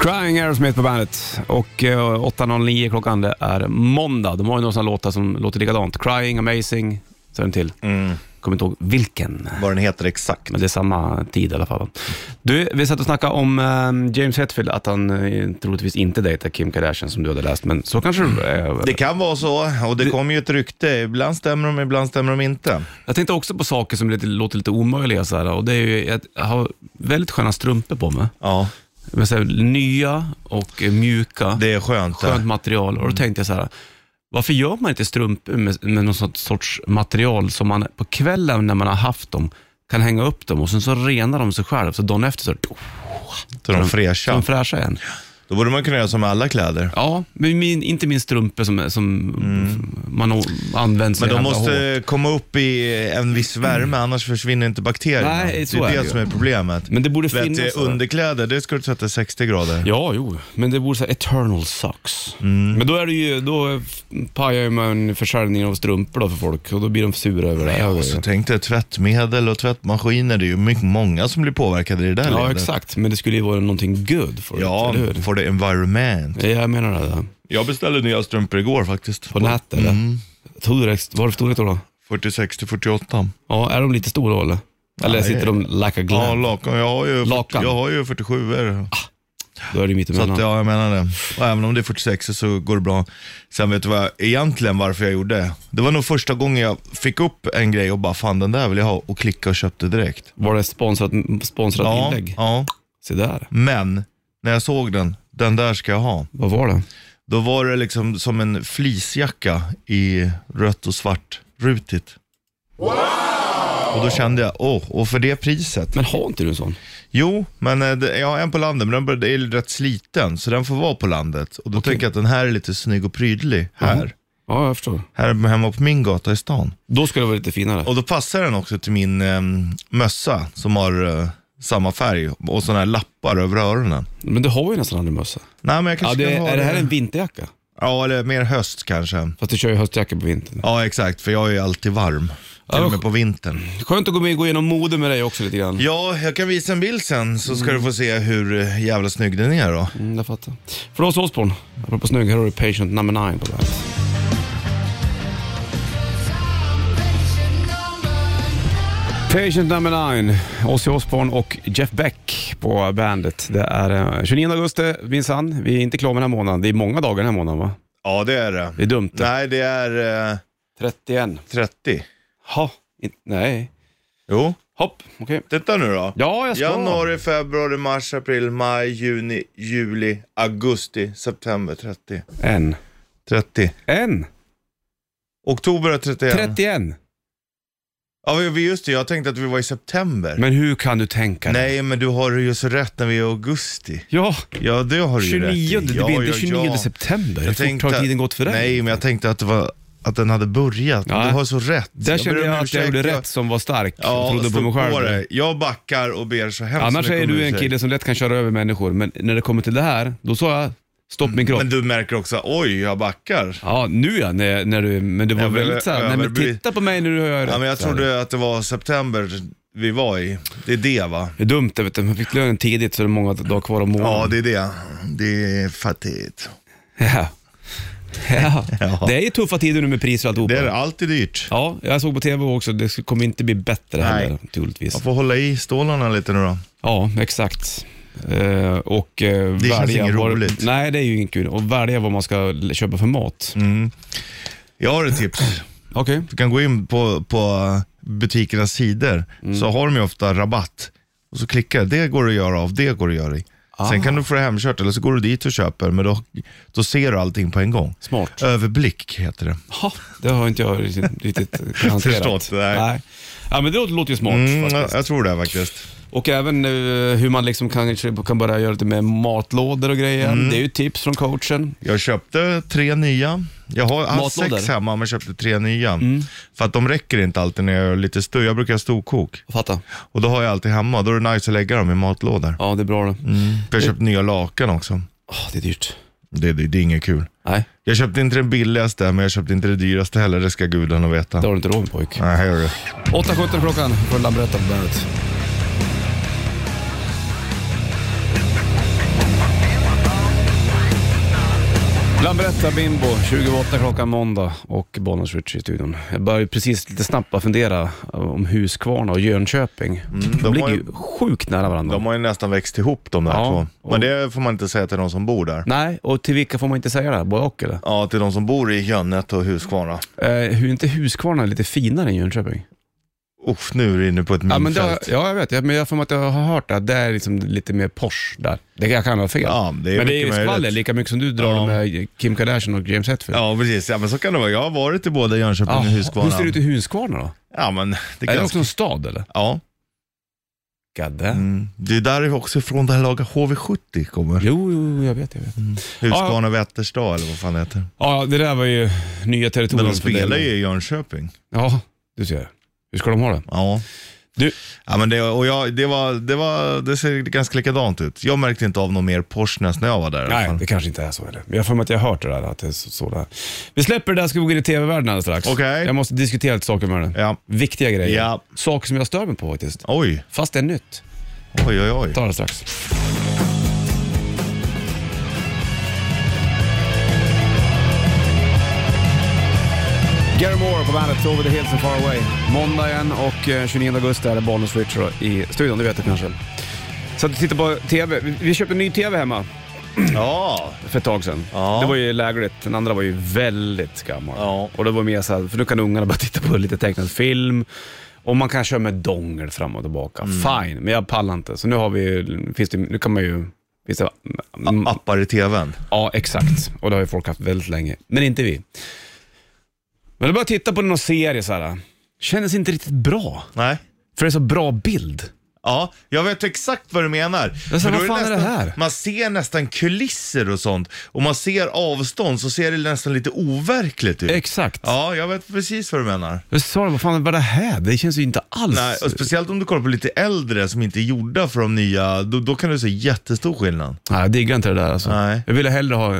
S2: Crying Aerosmith på bandet och eh, 8.09 klockan, det är måndag. De har ju några sådana låtar som låter likadant. Crying, Amazing, så är den till. Kommer inte ihåg vilken,
S3: Vad den heter exakt.
S2: men det är samma tid i alla fall. Du, vi satt och snackade om eh, James Hetfield, att han eh, troligtvis inte dejtar Kim Kardashian som du hade läst, men så kanske eh, det är.
S3: Det kan vara så och det kommer ju ett rykte. Ibland stämmer de, ibland stämmer de inte.
S2: Jag tänkte också på saker som lite, låter lite omöjliga. Så här, och det är ju, jag har väldigt sköna strumpor på mig.
S3: Ja,
S2: Men så här, nya och eh, mjuka.
S3: det är Mm. skönt.
S2: skönt
S3: det.
S2: material. Och då tänkte jag så här, varför gör man inte strumpor med, med någon sån sorts material som man på kvällen när man har haft dem kan hänga upp dem och sen så renar de sig själv. Så dagen efter så,
S3: Så de är fräscha.
S2: så är de fräscha igen.
S3: Då borde man kunna göra som med alla kläder.
S2: Ja, men min, inte min strumpa som, som man o- använder
S3: Mm. Men
S2: sig
S3: de
S2: av.
S3: måste komma upp i en viss värme, annars försvinner inte bakterierna.
S2: Mm. Nej, så
S3: det
S2: är
S3: är
S2: det
S3: det
S2: ju.
S3: som är problemet.
S2: Men det borde
S3: Vet
S2: finnas,
S3: du,
S2: va?
S3: underkläder, det ska du sätta 60 grader.
S2: Ja, jo. Men det borde säga eternal sucks.
S3: Mm.
S2: Men då är det ju, då pajar man försäljningen av strumpor då för folk och då blir de sura över det.
S3: Och så tänkte jag tvättmedel och tvättmaskiner, det är ju mycket, många som blir påverkade i det där
S2: ja,
S3: ledet.
S2: exakt. Men det skulle ju vara någonting good för
S3: Ja,
S2: eller hur?
S3: for the environment.
S2: Ja, Jag menar det.
S3: Jag beställde nya strumpor igår faktiskt.
S2: På nätet eller?
S3: Mm.
S2: Tog du det, var det storlek då? då?
S3: 46 till 48.
S2: Ja, är de lite stora eller? Eller
S3: Nej.
S2: sitter de like a
S3: Ja,
S2: glam?
S3: lakan. Jag har ju,
S2: Lakan. Ah,
S3: Jag har ju 47 er
S2: Då är det ju mitt
S3: Så att,
S2: emellan.
S3: ja, jag menar det. Och även om det är 46 så går det bra. Sen vet du vad jag, egentligen varför jag gjorde det? Det var nog första gången jag fick upp en grej och bara fan den där vill jag ha och klicka och köpte direkt.
S2: Var det sponsrat, sponsrat
S3: Ja,
S2: inlägg?
S3: ja,
S2: Se där.
S3: men när jag såg den, den där ska jag ha.
S2: Vad var det?
S3: Då var det liksom som en fleecejacka i rött och svart rutigt. Och då kände jag, åh, och för det priset.
S2: Men har inte du en sån?
S3: Jo, men eh, det- jag har en på landet, men den bör- det är rätt sliten, så den får vara på landet. Och då tänker jag att den här är lite snygg och prydlig här.
S2: Mhm. Ja, jag förstår.
S3: Här hemma på min gata i stan.
S2: Då ska det vara lite finare.
S3: Och då passar den också till min eh, mössa som har eh, samma färg och sådana här lappar över öronen.
S2: Men du har ju nästan aldrig mössa.
S3: Nej, men jag
S2: Ja,
S3: kanske
S2: det,
S3: kan ha
S2: är det här en vinterjacka?
S3: Ja, eller mer höst kanske.
S2: Fast du kör ju höstjacka på vintern.
S3: Ja, exakt, för jag är ju alltid varm. Till och med på vintern.
S2: Skönt att gå, med, gå igenom mode med dig också lite grann.
S3: Ja, jag kan visa en bild sen så ska du få se hur eh, jävla snygg den är då.
S2: Mm, jag fattar. Flås Osborn, apropå snygg, här har du Patient number 9 på bandet. Patient number 9, Ozzy Osbourne och Jeff Beck på bandet. Det är eh, 29 augusti minsann. Vi är inte klara med den här månaden. Det är många dagar den här månaden va?
S3: Ja, det är det.
S2: Det är dumt. det.
S3: Nej, det är eh,
S2: 31.
S3: 30.
S2: Ha, in, nej.
S3: Jo,
S2: Hopp, okej.
S3: titta nu då.
S2: Ja, jag ska.
S3: Januari, februari, mars, april, maj, juni, juli, augusti, september 30.
S2: En.
S3: 30.
S2: En.
S3: Oktober är 31.
S2: 31.
S3: Ja, vi- vi- just det. Jag tänkte att vi var i september.
S2: Men hur kan du tänka det?
S3: Nej, men du har ju så rätt när vi är i augusti.
S2: Ja,
S3: Ja, det har du ju rätt
S2: 29,
S3: i.
S2: det
S3: ja,
S2: blir
S3: ja,
S2: inte 29
S3: ja.
S2: september. Hur
S3: Jag
S2: fort har
S3: tänkte-
S2: tiden gått för dig?
S3: Nej, men jag tänkte att, det var, att den hade börjat. Men
S2: Nej.
S3: Du har så rätt.
S2: Där kände
S3: ber
S2: jag
S3: om
S2: att jag
S3: ursäkt.
S2: gjorde rätt som var stark och
S3: Ja,
S2: trodde på
S3: stå
S2: mig själv.
S3: på dig. Jag backar och ber så hemskt
S2: Annars
S3: mycket
S2: är
S3: om
S2: du en
S3: ursäkt.
S2: kille som lätt kan köra över människor, men när det kommer till det här, då sa jag stopp min kropp.
S3: Men du märker också, oj, jag backar.
S2: Ja, nu ja, när, när du, men det var
S3: Jag blev
S2: väldigt såhär, nej men
S3: överbli-
S2: titta på mig när du hör
S3: Ja, men jag trodde att det var september vi var i. Det är det va?
S2: Det är dumt det vet du, man fick lönen tidigt så det är många dagar kvar av månaden.
S3: Ja, det är det. Det är fattigt.
S2: Ja. Ja.
S3: <laughs> Ja.
S2: Det är ju tuffa tider nu med priser och alltihopa.
S3: Det är alltid dyrt.
S2: Ja, jag såg på TV också, det kommer inte bli bättre heller
S3: Nej.
S2: troligtvis.
S3: Jag får hålla i stålarna lite nu då.
S2: Ja, exakt. Eh, och eh,
S3: Det känns
S2: välja
S3: inget
S2: vad-
S3: roligt.
S2: Nej, det är ju inget kul. Och välja vad man ska l- köpa för mat.
S3: Mm. Jag har ett tips.
S2: Okej.
S3: Du kan gå in på, på butikernas sidor,
S2: Mm.
S3: så har de ju ofta rabatt. Och så klickar jag, det går att göra av, det går att göra i. Sen
S2: Ah.
S3: kan du få det hemkört eller så går du dit och köper, men då, då ser du allting på en gång.
S2: Smart.
S3: Överblick heter det.
S2: Ha, det har inte jag riktigt,
S3: <laughs>
S2: riktigt hanterat.
S3: Förstått, nej.
S2: Ja, men det låter, låter ju smart
S3: Mm, jag,
S2: faktiskt.
S3: jag tror det faktiskt.
S2: Och även eh, hur man liksom kan, kan börja göra lite med matlådor och grejer.
S3: Mm.
S2: Det är ju tips från coachen.
S3: Jag köpte tre nya. Jag har haft
S2: Matlådor? Mm.
S3: sex hemma men köpte tre nya. För att de räcker inte alltid när jag gör lite stor. Jag brukar ha storkok.
S2: Fatta.
S3: Och då har jag alltid hemma. Då är det nice att lägga dem i matlådor.
S2: Ja, det är bra det.
S3: För jag har köpt nya lakan också.
S2: Ah, det är dyrt.
S3: Det, det, det är inget kul.
S2: Nej,
S3: Jag köpte inte den billigaste men jag köpte inte det dyraste heller. Det ska gudarna veta.
S2: det har du inte råd med pojk.
S3: Nej, här gör du.
S2: 8.17 klockan från Lambretta på bandet. Lambretta Bimbo, 28 klockan måndag och Bonus Rich i studion. Jag började precis lite snabbt bara fundera eh, om Huskvarna och Jönköping. de
S3: de
S2: ligger
S3: har
S2: ju sjukt nära varandra.
S3: De har ju nästan växt ihop de där
S2: Ja,
S3: två. Men det får man inte säga till de som bor där.
S2: Nej, och till vilka får man inte säga det? här? Både och eller?
S3: Ja, till de som bor i Jönnet och Huskvarna.
S2: Eh, hur är inte Huskvarna lite finare än Jönköping?
S3: Uff, nu är du inne på ett
S2: Ja, men det har,
S3: minfält.
S2: ja, jag vet. Jag, men jag får mig att jag har hört att det är liksom lite mer Porsche där. Det jag kan ha fel.
S3: Ja, det är
S2: men det är ju
S3: mycket
S2: skvaller liksom.
S3: möjligt.
S2: lika mycket som du drar
S3: Ja.
S2: med Kim Kardashian och James Hetfield.
S3: Ja, precis. Ja, men så kan det vara. Jag har varit i både Jönköping
S2: Ah,
S3: och Huskvarna.
S2: Hur ser det ut i Huskvarna då?
S3: Ja, men det är
S2: Är det
S3: ganska...
S2: också en stad eller?
S3: Ja.
S2: räkade.
S3: Det är där också från det här laget HV70 kommer.
S2: Jo, jo, jag vet, jag vet.
S3: Huskvarna Vätterstad eller vad fan det heter.
S2: Ja, det där var ju nya
S3: Men
S2: territorium
S3: de
S2: för dig.
S3: spelar ju i Jönköping.
S2: Ja, du ser. Hur ska de ha det?
S3: Ja.
S2: Du,
S3: Ja, men det, och jag, det, var, det, var, det ser ganska likadant ut. Jag märkte inte av någon mer Porsnes när jag var där. i alla
S2: nej,
S3: fall.
S2: det kanske inte är så heller. Men jag har för mig att jag har hört det där. Att det är så, så där. Vi släpper det där ska vi gå in i tv-världen alldeles strax.
S3: Okej.
S2: Jag måste diskutera lite saker med dig.
S3: Ja.
S2: Viktiga grejer.
S3: Ja.
S2: Saker som jag stör mig på faktiskt.
S3: Oj,
S2: Fast det är nytt.
S3: oj, oj, oj.
S2: Ta det strax. Gary Moore på bandet, Over the Hills and Far Away. Måndag igen och eh, 29 augusti är det Bollnäs Switcher i studion, det vet du kanske. Så att du tittar på TV. Vi- Vi köpte en ny TV hemma
S3: Ja,
S2: för ett tag sedan.
S3: Ja.
S2: Det var ju lägligt. Den andra var ju väldigt gammal.
S3: Ja.
S2: Och det var mer så här, för nu kan ungarna <laughs> bara titta på lite tecknad film. Och man kan köra med dongel fram och tillbaka.
S3: Mm.
S2: Fine, men jag pallar inte. Så nu har vi ju, finns det, nu kan man ju, finns det, mm,
S3: appar i tvn.
S2: ja exakt. Och det har ju folk haft väldigt länge. Men inte vi. Men då började jag titta på någon serie så här. Kändes inte riktigt bra.
S3: Nej.
S2: För det är så bra bild.
S3: Ja, jag vet exakt vad du menar.
S2: Jag sa,
S3: För då
S2: vad fan är det
S3: nästan,
S2: här?
S3: Man ser nästan kulisser och sånt. Och man ser avstånd så ser det nästan lite overkligt ut.
S2: Exakt.
S3: Ja, jag vet precis vad du menar.
S2: Jag sa vad fan var det här? Det känns ju inte alls...
S3: Nej, och speciellt om du kollar på lite äldre som inte är gjorda för de nya, då, då kan du se jättestor skillnad.
S2: Nej, jag diggar inte det där alltså.
S3: Nej.
S2: Jag ville hellre ha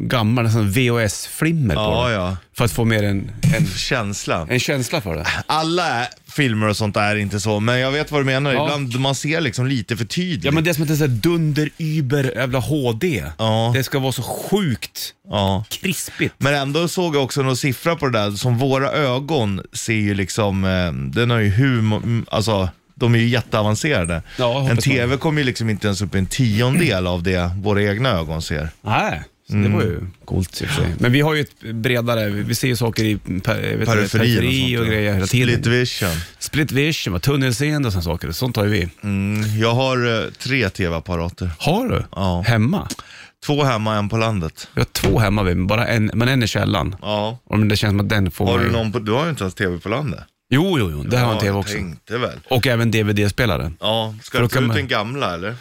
S2: gammal nästan VHS-flimmer på
S3: Ja,
S2: det.
S3: ja. Ah,
S2: För att få mer en, en,
S3: Känsla.
S2: en känsla för det.
S3: Alla filmer och sånt är inte så, men jag vet vad du menar.
S2: Ja.
S3: Ibland man ser liksom lite för tydligt.
S2: Ja, men det är som att det är så här dunder, über, jävla HD.
S3: Ja.
S2: Det ska vara så sjukt
S3: Ja.
S2: krispigt.
S3: Men ändå såg jag också någon siffra på det där, som våra ögon ser ju liksom, eh, den har ju humor, alltså de är ju jätteavancerade.
S2: Ja, jag hoppas
S3: en
S2: det.
S3: TV kommer ju liksom inte ens upp i en tiondel av det våra egna ögon ser.
S2: Nej, så det var ju
S3: Mm.
S2: coolt i och för sig. Men vi har ju ett bredare, vi vi ser ju saker i per, vet du,
S3: Periferi
S2: periferi och,
S3: sånt, ja.
S2: grejer hela tiden.
S3: Split vision.
S2: Split vision, va, tunnelseende och sådana saker. Sånt har ju vi.
S3: Mm, jag har eh, tre TV-apparater.
S2: Har du?
S3: Ja.
S2: Hemma?
S3: Två hemma, en på landet.
S2: Jag har två hemma, men bara en, men en i källaren.
S3: Ja.
S2: Och det känns som att den får
S3: Har du
S2: mig-
S3: någon på, du har ju inte ens TV på landet.
S2: Jo, jo, jo. Det har jag en tv
S3: jag
S2: också.
S3: tänkte väl.
S2: Och även DVD-spelare.
S3: Ja, ska
S2: För
S3: du
S2: då
S3: ta
S2: kan
S3: ut
S2: man-
S3: den gamla eller?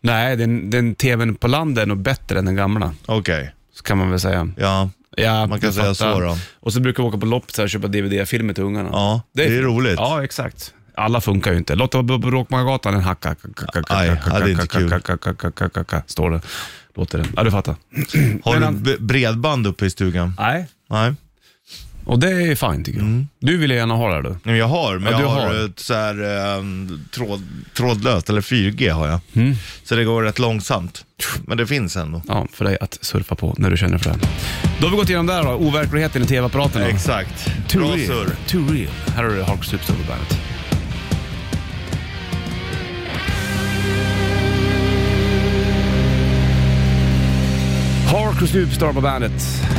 S2: Nej, den, den tvn på landet är nog bättre än den gamla.
S3: Okej,
S2: Så kan man väl säga.
S3: ja.
S2: Ja,
S3: Man kan
S2: jag
S3: säga
S2: fattar.
S3: så då.
S2: Och så brukar vi åka på loppisar och köpa DVD-filmer till ungarna.
S3: Ja, det är roligt.
S2: Ja, exakt. Alla funkar ju inte. Lotta på Bråkmakargatan, den hackar.
S3: Aj, ja, det är inte kul.
S2: Står det. Låter den. Ja, du fattar.
S3: Har
S2: Men
S3: du
S2: han-
S3: b- bredband uppe i stugan?
S2: Nej.
S3: Nej.
S2: Och det är fint tycker jag.
S3: Mm.
S2: Du vill gärna ha det här du.
S3: Nej, jag har, men
S2: Ja, du
S3: jag har,
S2: har.
S3: ett så här, ehm, tråd, trådlöst, eller 4G har jag. Så det går rätt långsamt. Men det finns ändå.
S2: Ja, för dig att surfa på när du känner för det. Då har vi gått igenom där då. Overkligheten i tv-apparaten. då.
S3: Exakt.
S2: Too
S3: Bra
S2: real.
S3: surr.
S2: Too real. Här har du Hark Superstar på bandet. Hark och Superstar på bandet.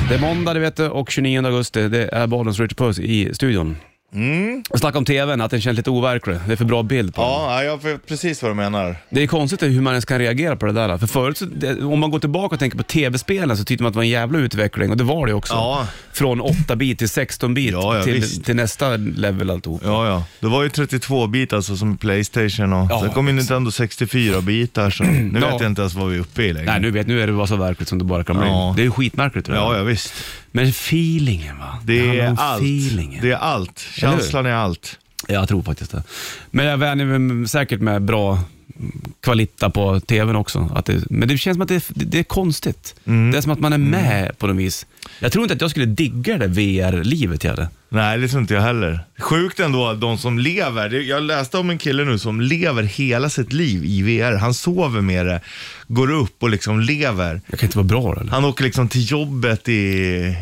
S2: Det är måndag det vet du och 29 augusti. Det är Bollens Richard Puss i studion. Mm. Jag snackade om TVn, att den känns lite overklig. Det är för bra bild på den.
S3: Ja, nej, jag vet precis vad du menar.
S2: Det är konstigt hur man ens kan reagera på det där. För förut, så, det, om man går tillbaka och tänker på TV-spelen så tyckte man att det var en jävla utveckling och det var det också.
S3: Ja.
S2: Från 8-bit till 16-bit
S3: <laughs> Ja, ja,
S2: till,
S3: visst.
S2: till nästa level alltihop.
S3: Ja, ja. Det var ju 32-bit alltså som Playstation och
S2: Ja,
S3: sen kom ju Nintendo 64-bitar <clears throat> så nu
S2: Ja.
S3: vet jag inte ens vad vi är uppe i längre.
S2: Nej, nu vet nu är det bara så verkligt som det bara kan bli.
S3: Ja.
S2: Det är ju skitmärkligt det
S3: Ja,
S2: där.
S3: ja visst.
S2: Men feelingen va?
S3: Det
S2: handlar
S3: är
S2: om
S3: allt.
S2: Feelingen.
S3: Det är allt. Känslan är allt.
S2: Jag tror faktiskt det. Men jag vänjer mig säkert med bra kvalitta på tvn också. Att det, men det känns som att det, det är konstigt.
S3: Mm.
S2: Det är som att man är med på något vis. Jag tror inte att jag skulle digga det VR-livet jag hade.
S3: Nej, det tror inte jag heller. Sjukt ändå, de som lever. Det- Jag läste om en kille nu som lever hela sitt liv i VR. Han sover med det, går upp och liksom lever.
S2: Jag kan inte vara bra eller?
S3: Han åker liksom till jobbet i...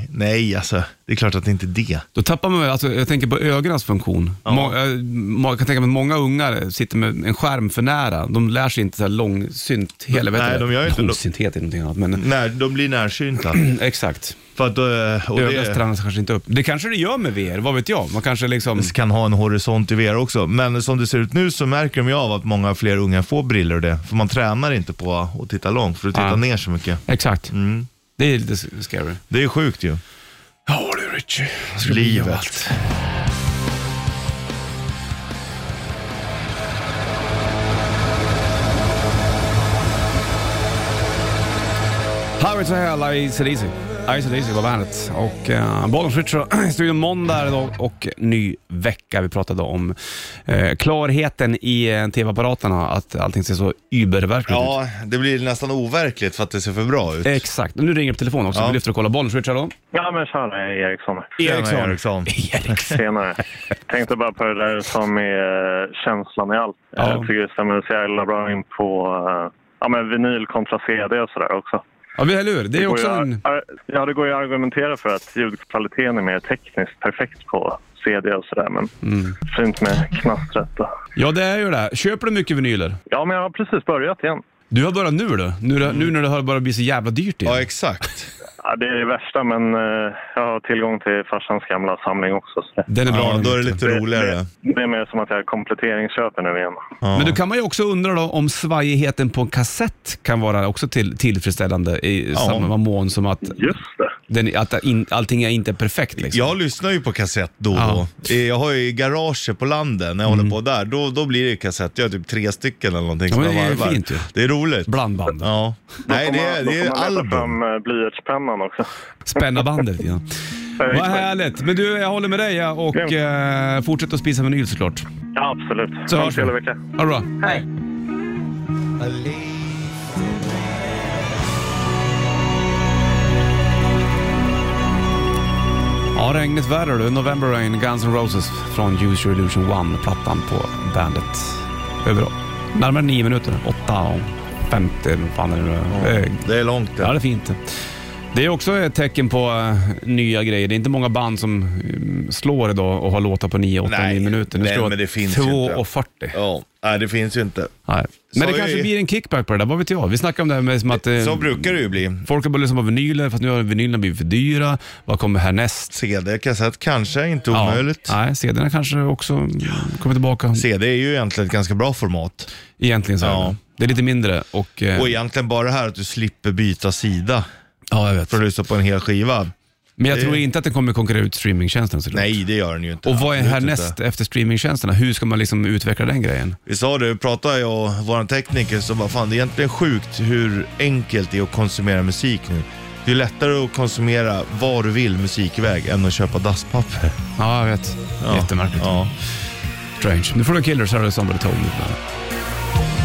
S3: Nej, alltså. Det är klart att det inte är det.
S2: Då tappar man, väl- alltså, jag tänker på ögonens funktion. Må, jag, må, jag kan tänka mig att många ungar sitter med en skärm för nära. De lär sig inte så här långsynt, hela, vet
S3: Nej,
S2: du det?
S3: de gör ju inte- Mm.
S2: Långsynthet är någonting annat, men
S3: Nej, de blir närsynta. <clears throat>
S2: exakt.
S3: För att, eh, och
S2: Ögat
S3: det
S2: tränas kanske inte upp. Det kanske det gör med VR, vad vet jag? Man kanske liksom...
S3: kan ha en horisont i VR också. Men som det ser ut nu så märker de ju av att många fler unga får briller och det. För man tränar inte på att titta långt, för att titta
S2: Ja.
S3: ner så mycket.
S2: Exakt.
S3: Mm.
S2: Det är lite scary.
S3: Det är sjukt ju.
S2: Ja du Richie, vad
S3: ska det bli av allt?
S2: Highway to Hell, Ice and Easy. Ice and Easy var bandet. Och <clears throat> eh, Bollnäs Ritcher, studion måndag idag och ny vecka. Vi pratade om eh, klarheten i eh, tv-apparaterna, att allting ser så überverkligt ut.
S3: Ja, det blir nästan overkligt för att det ser för bra ut.
S2: Exakt. Nu ringer det på telefonen också.
S3: Ja.
S2: Vi lyfter och kollar. Bollnäs Ritcher då.
S7: Ja, men tjena Eriksson.
S3: Tjena, Eriksson.
S2: <laughs> Eriksson.
S7: Senare. Tänkte bara på det där som är eh, känslan i allt.
S2: Ja.
S7: Jag tycker det stämmer så jävla bra in på eh, ja, men vinyl kontra CD och sådär också.
S2: Ja, men eller hur? Det är
S7: går
S2: också
S7: ju,
S2: en...
S7: ar- Ja, det går ju att argumentera för att ljudkvaliteten är mer tekniskt perfekt på CD och sådär. Men
S2: Mm.
S7: fint med knastret. och-
S2: Ja, det är ju det. Köper du mycket vinyler?
S7: Ja, men jag har precis börjat igen.
S2: Du har börjat nu då? Nu, nu när det har börjat bli så jävla dyrt igen?
S3: Ja, exakt.
S7: Ja, det är det värsta, men eh, jag har tillgång till farsans gamla samling också. Så
S2: Den är bra.
S3: Ja,
S2: den
S3: då är det
S2: vet du.
S3: lite roligare.
S7: Det, det är mer som att jag kompletteringsköper nu igen.
S3: Ja.
S2: Men då kan man ju också undra då om svajigheten på en kassett kan vara också till, tillfredsställande i samma mån som att,
S7: Just det.
S2: den, att in, allting är inte perfekt. Liksom.
S3: Jag lyssnar ju på kassett då och
S2: Ja. Mm.
S3: då. Eh, Jag har ju garage på landet när jag håller på där. Då, då blir det ju kassett. Jag har typ tre stycken eller någonting som
S2: men
S3: jag
S2: det är
S3: varvar.
S2: fint ju.
S3: Det är roligt.
S2: Blandband.
S3: Ja. Nej, det är,
S7: Då
S3: det är
S7: får man leta
S3: album.
S7: fram eh, blyertspennan också.
S2: Spänna bandet
S3: <laughs>
S2: ja. Vad
S7: Exakt.
S2: härligt. Men du, jag håller med dig ja, och eh, fortsätt att spisa vinyl såklart.
S7: Ja, absolut.
S2: Så
S7: Ha en
S2: hörs vi.
S7: trevlig vecka.
S2: Ha det bra. Hej. Ja, regnigt väder du. November Rain, Guns N' Roses från Use Your Illusion 1-plattan på bandet. Över närmare nio minuter. Åtta och femtio. eller vad fan är det nu? Eh,
S3: Det är långt
S2: Ja, det
S3: det.
S2: är fint. Det är också ett tecken på eh, nya grejer. Det är inte många band som mm, slår idag och har låtar på 9, 8,
S3: Nej,
S2: 9 minuter. Nu
S3: nej,
S2: slår
S3: men det finns ju inte.
S2: 2.40.
S3: Ja, nej, det finns ju inte.
S2: Nej. Men
S3: Så
S2: det kanske
S3: är-
S2: blir en kickback på det där, vad vet jag? Vi snackade om det här med som att eh,
S3: Så brukar det ju bli.
S2: folk har börjat lyssna på vinyler, fast nu har vinylerna blivit för dyra. Vad kommer härnäst?
S3: CD, kassett, kanske inte omöjligt.
S2: Nej, CD-erna kanske också mm, kommer tillbaka.
S3: CD är ju egentligen ett ganska bra format.
S2: Egentligen så är
S3: Ja.
S2: det. Det är lite mindre och... eh,
S3: Och egentligen bara det här att du slipper byta sida
S2: Ja, jag vet.
S3: för att lyssna på en hel skiva.
S2: Men jag tror inte att den kommer konkurrera ut streamingtjänsten. såklart.
S3: Nej, det gör den ju inte.
S2: Och vad är
S3: Absolut
S2: härnäst
S3: inte.
S2: efter streamingtjänsterna? Hur ska man liksom utveckla den grejen?
S3: Vi sa det, vi pratade jag och vår tekniker som bara, fan det är egentligen sjukt hur enkelt det är att konsumera musik nu. Det är lättare att konsumera vad du vill musikväg än att köpa dasspapper.
S2: Ja, jag vet. Jättemärkligt.
S3: Ja.
S2: Strange. Nu får du Killers här, Somebody Told Me. på bandet.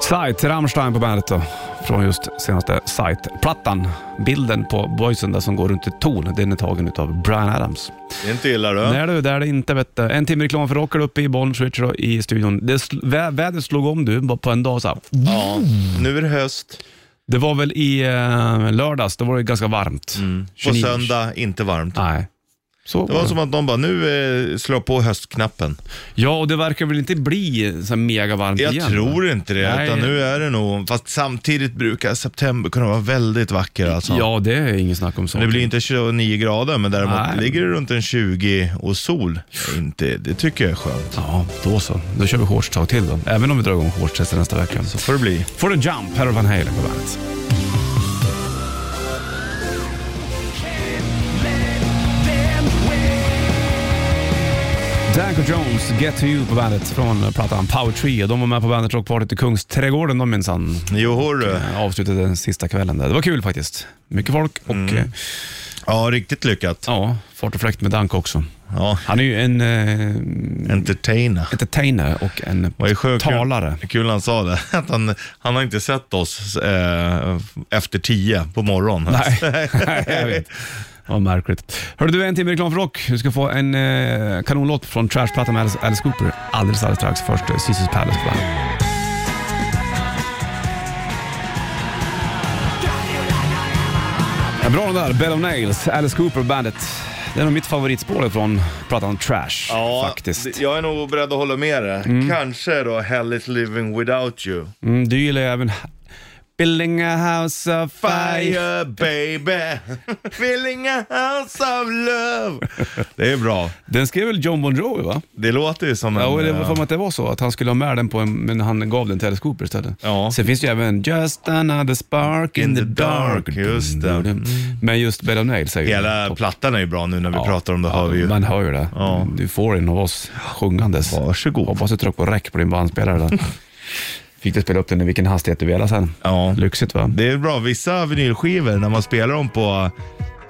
S2: Sight, Rammstein på bandet då. Från just senaste Sight-plattan. Bilden på boysen där som går runt ett torn, den är tagen utav Brian Adams.
S3: Det är inte illa du.
S2: Nej du, det är det inte vet du. En timme reklam för rocker uppe i Bollnäs Switcher då, i studion. Det sl- vä- vädret slog om du bara på en dag så här.
S3: Ja. Nu är det höst.
S2: Det var väl i eh, lördags, då var det ganska varmt.
S3: Mm. På
S2: 29.
S3: söndag, inte varmt.
S2: Nej. Så
S3: Det var som att de bara, nu eh, slår på höstknappen.
S2: Ja, och det verkar väl inte bli så här mega varmt
S3: Jag
S2: igen? va?
S3: tror inte det,
S2: Nej.
S3: utan nu är det nog, fast samtidigt brukar september kunna vara väldigt vacker alltså.
S2: Ja, det är inget snack om sånt.
S3: Det blir inte 29 grader, men däremot
S2: Nej.
S3: ligger det runt en 20 och sol. Inte, det tycker jag är skönt.
S2: Ja, då så. Då kör vi shortstag till då. Även om vi drar igång shortstestet nästa vecka.
S3: Så får det bli.
S2: Får du Jump, här har Van Halen på bandet. Danko Jones, Get To You på bandet från plattan Power Tree. De var med på bandet Rockpartyt i Kungsträdgården de minsann.
S3: Jo, hörru.
S2: Avslutade den sista kvällen där. Det var kul faktiskt. Mycket folk och
S3: Mm.
S2: eh,
S3: Ja, riktigt lyckat.
S2: ja, fart och fläkt med Danko också.
S3: Ja,
S2: Han är ju en eh,
S3: entertaina.
S2: entertainer och en
S3: Vad är sjukt kul-
S2: talare.
S3: Kul han sa det, <laughs> att han, han har inte sett oss eh, efter 10 på morgonen. <laughs>
S2: Nej, <laughs> jag vet. Vad märkligt. Hörru du, en timme reklam för rock. Du ska få en eh, kanonlåt från Trashplattan med Alice, Alice Cooper alldeles, alldeles strax. Först eh, Caesars Palace på bandet. Ja, bra den där, Bell of Nails, Alice Cooper bandet. Det är nog mitt favoritspår från plattan Trash
S3: Ja,
S2: faktiskt.
S3: d- jag är nog beredd att hålla med dig. Kanske då Hell is living without you.
S2: Mm, du gillar ju även Building a house of fire.
S3: Fire baby, <laughs> filling a house of love. Det är bra.
S2: Den skrev väl John Bon Jovi va?
S3: Det låter ju som en...
S2: Ja, och det
S3: eh,
S2: var för mig att det var så, att han skulle ha med den på en, men han gav den till Alice Cooper istället.
S3: Ja.
S2: Sen finns det ju även Just another spark in,
S3: In
S2: the
S3: the
S2: dark.
S3: dark, just det. Mm.
S2: Men just Bed of Nails är ju...
S3: eh, Hela
S2: topp.
S3: plattan är ju bra nu när vi
S2: Ja.
S3: pratar om det, hör vi ju.
S2: Man hör ju det.
S3: Ja.
S2: Du får en av oss sjungandes.
S3: Varsågod. <laughs>
S2: Hoppas du trycker på räck på din bandspelare där. Fick du spela upp den i vilken hastighet du ville sen.
S3: Ja.
S2: Lyxigt va?
S3: Det är bra. Vissa vinylskivor, när man spelar dem på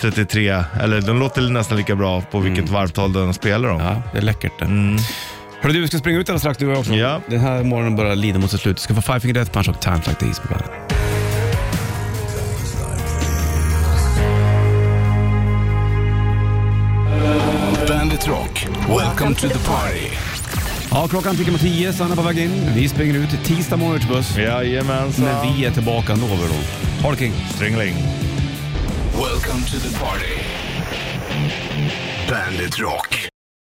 S3: 33, eller de låter nästan lika bra på vilket varvtal den spelar dem.
S2: Mm. Ja, det är läckert det. Hörru du, vi ska springa ut alldeles strax du och jag också.
S3: Mm. Ja.
S2: Den här morgonen börjar lida mot sitt slut. Du ska få Five Finger Death Punch och Times Like These på bandet.
S1: Bandit Rock, welcome to the party.
S2: Ja, klockan tickar mot tio, Sanna på väg in. Vi springer ut i tisdag morgons buss.
S3: Jajamensan.
S2: Men vi är tillbaka ändå. över då. Ha det king.
S3: Stringling.
S1: Welcome to the party. Bandit Rock.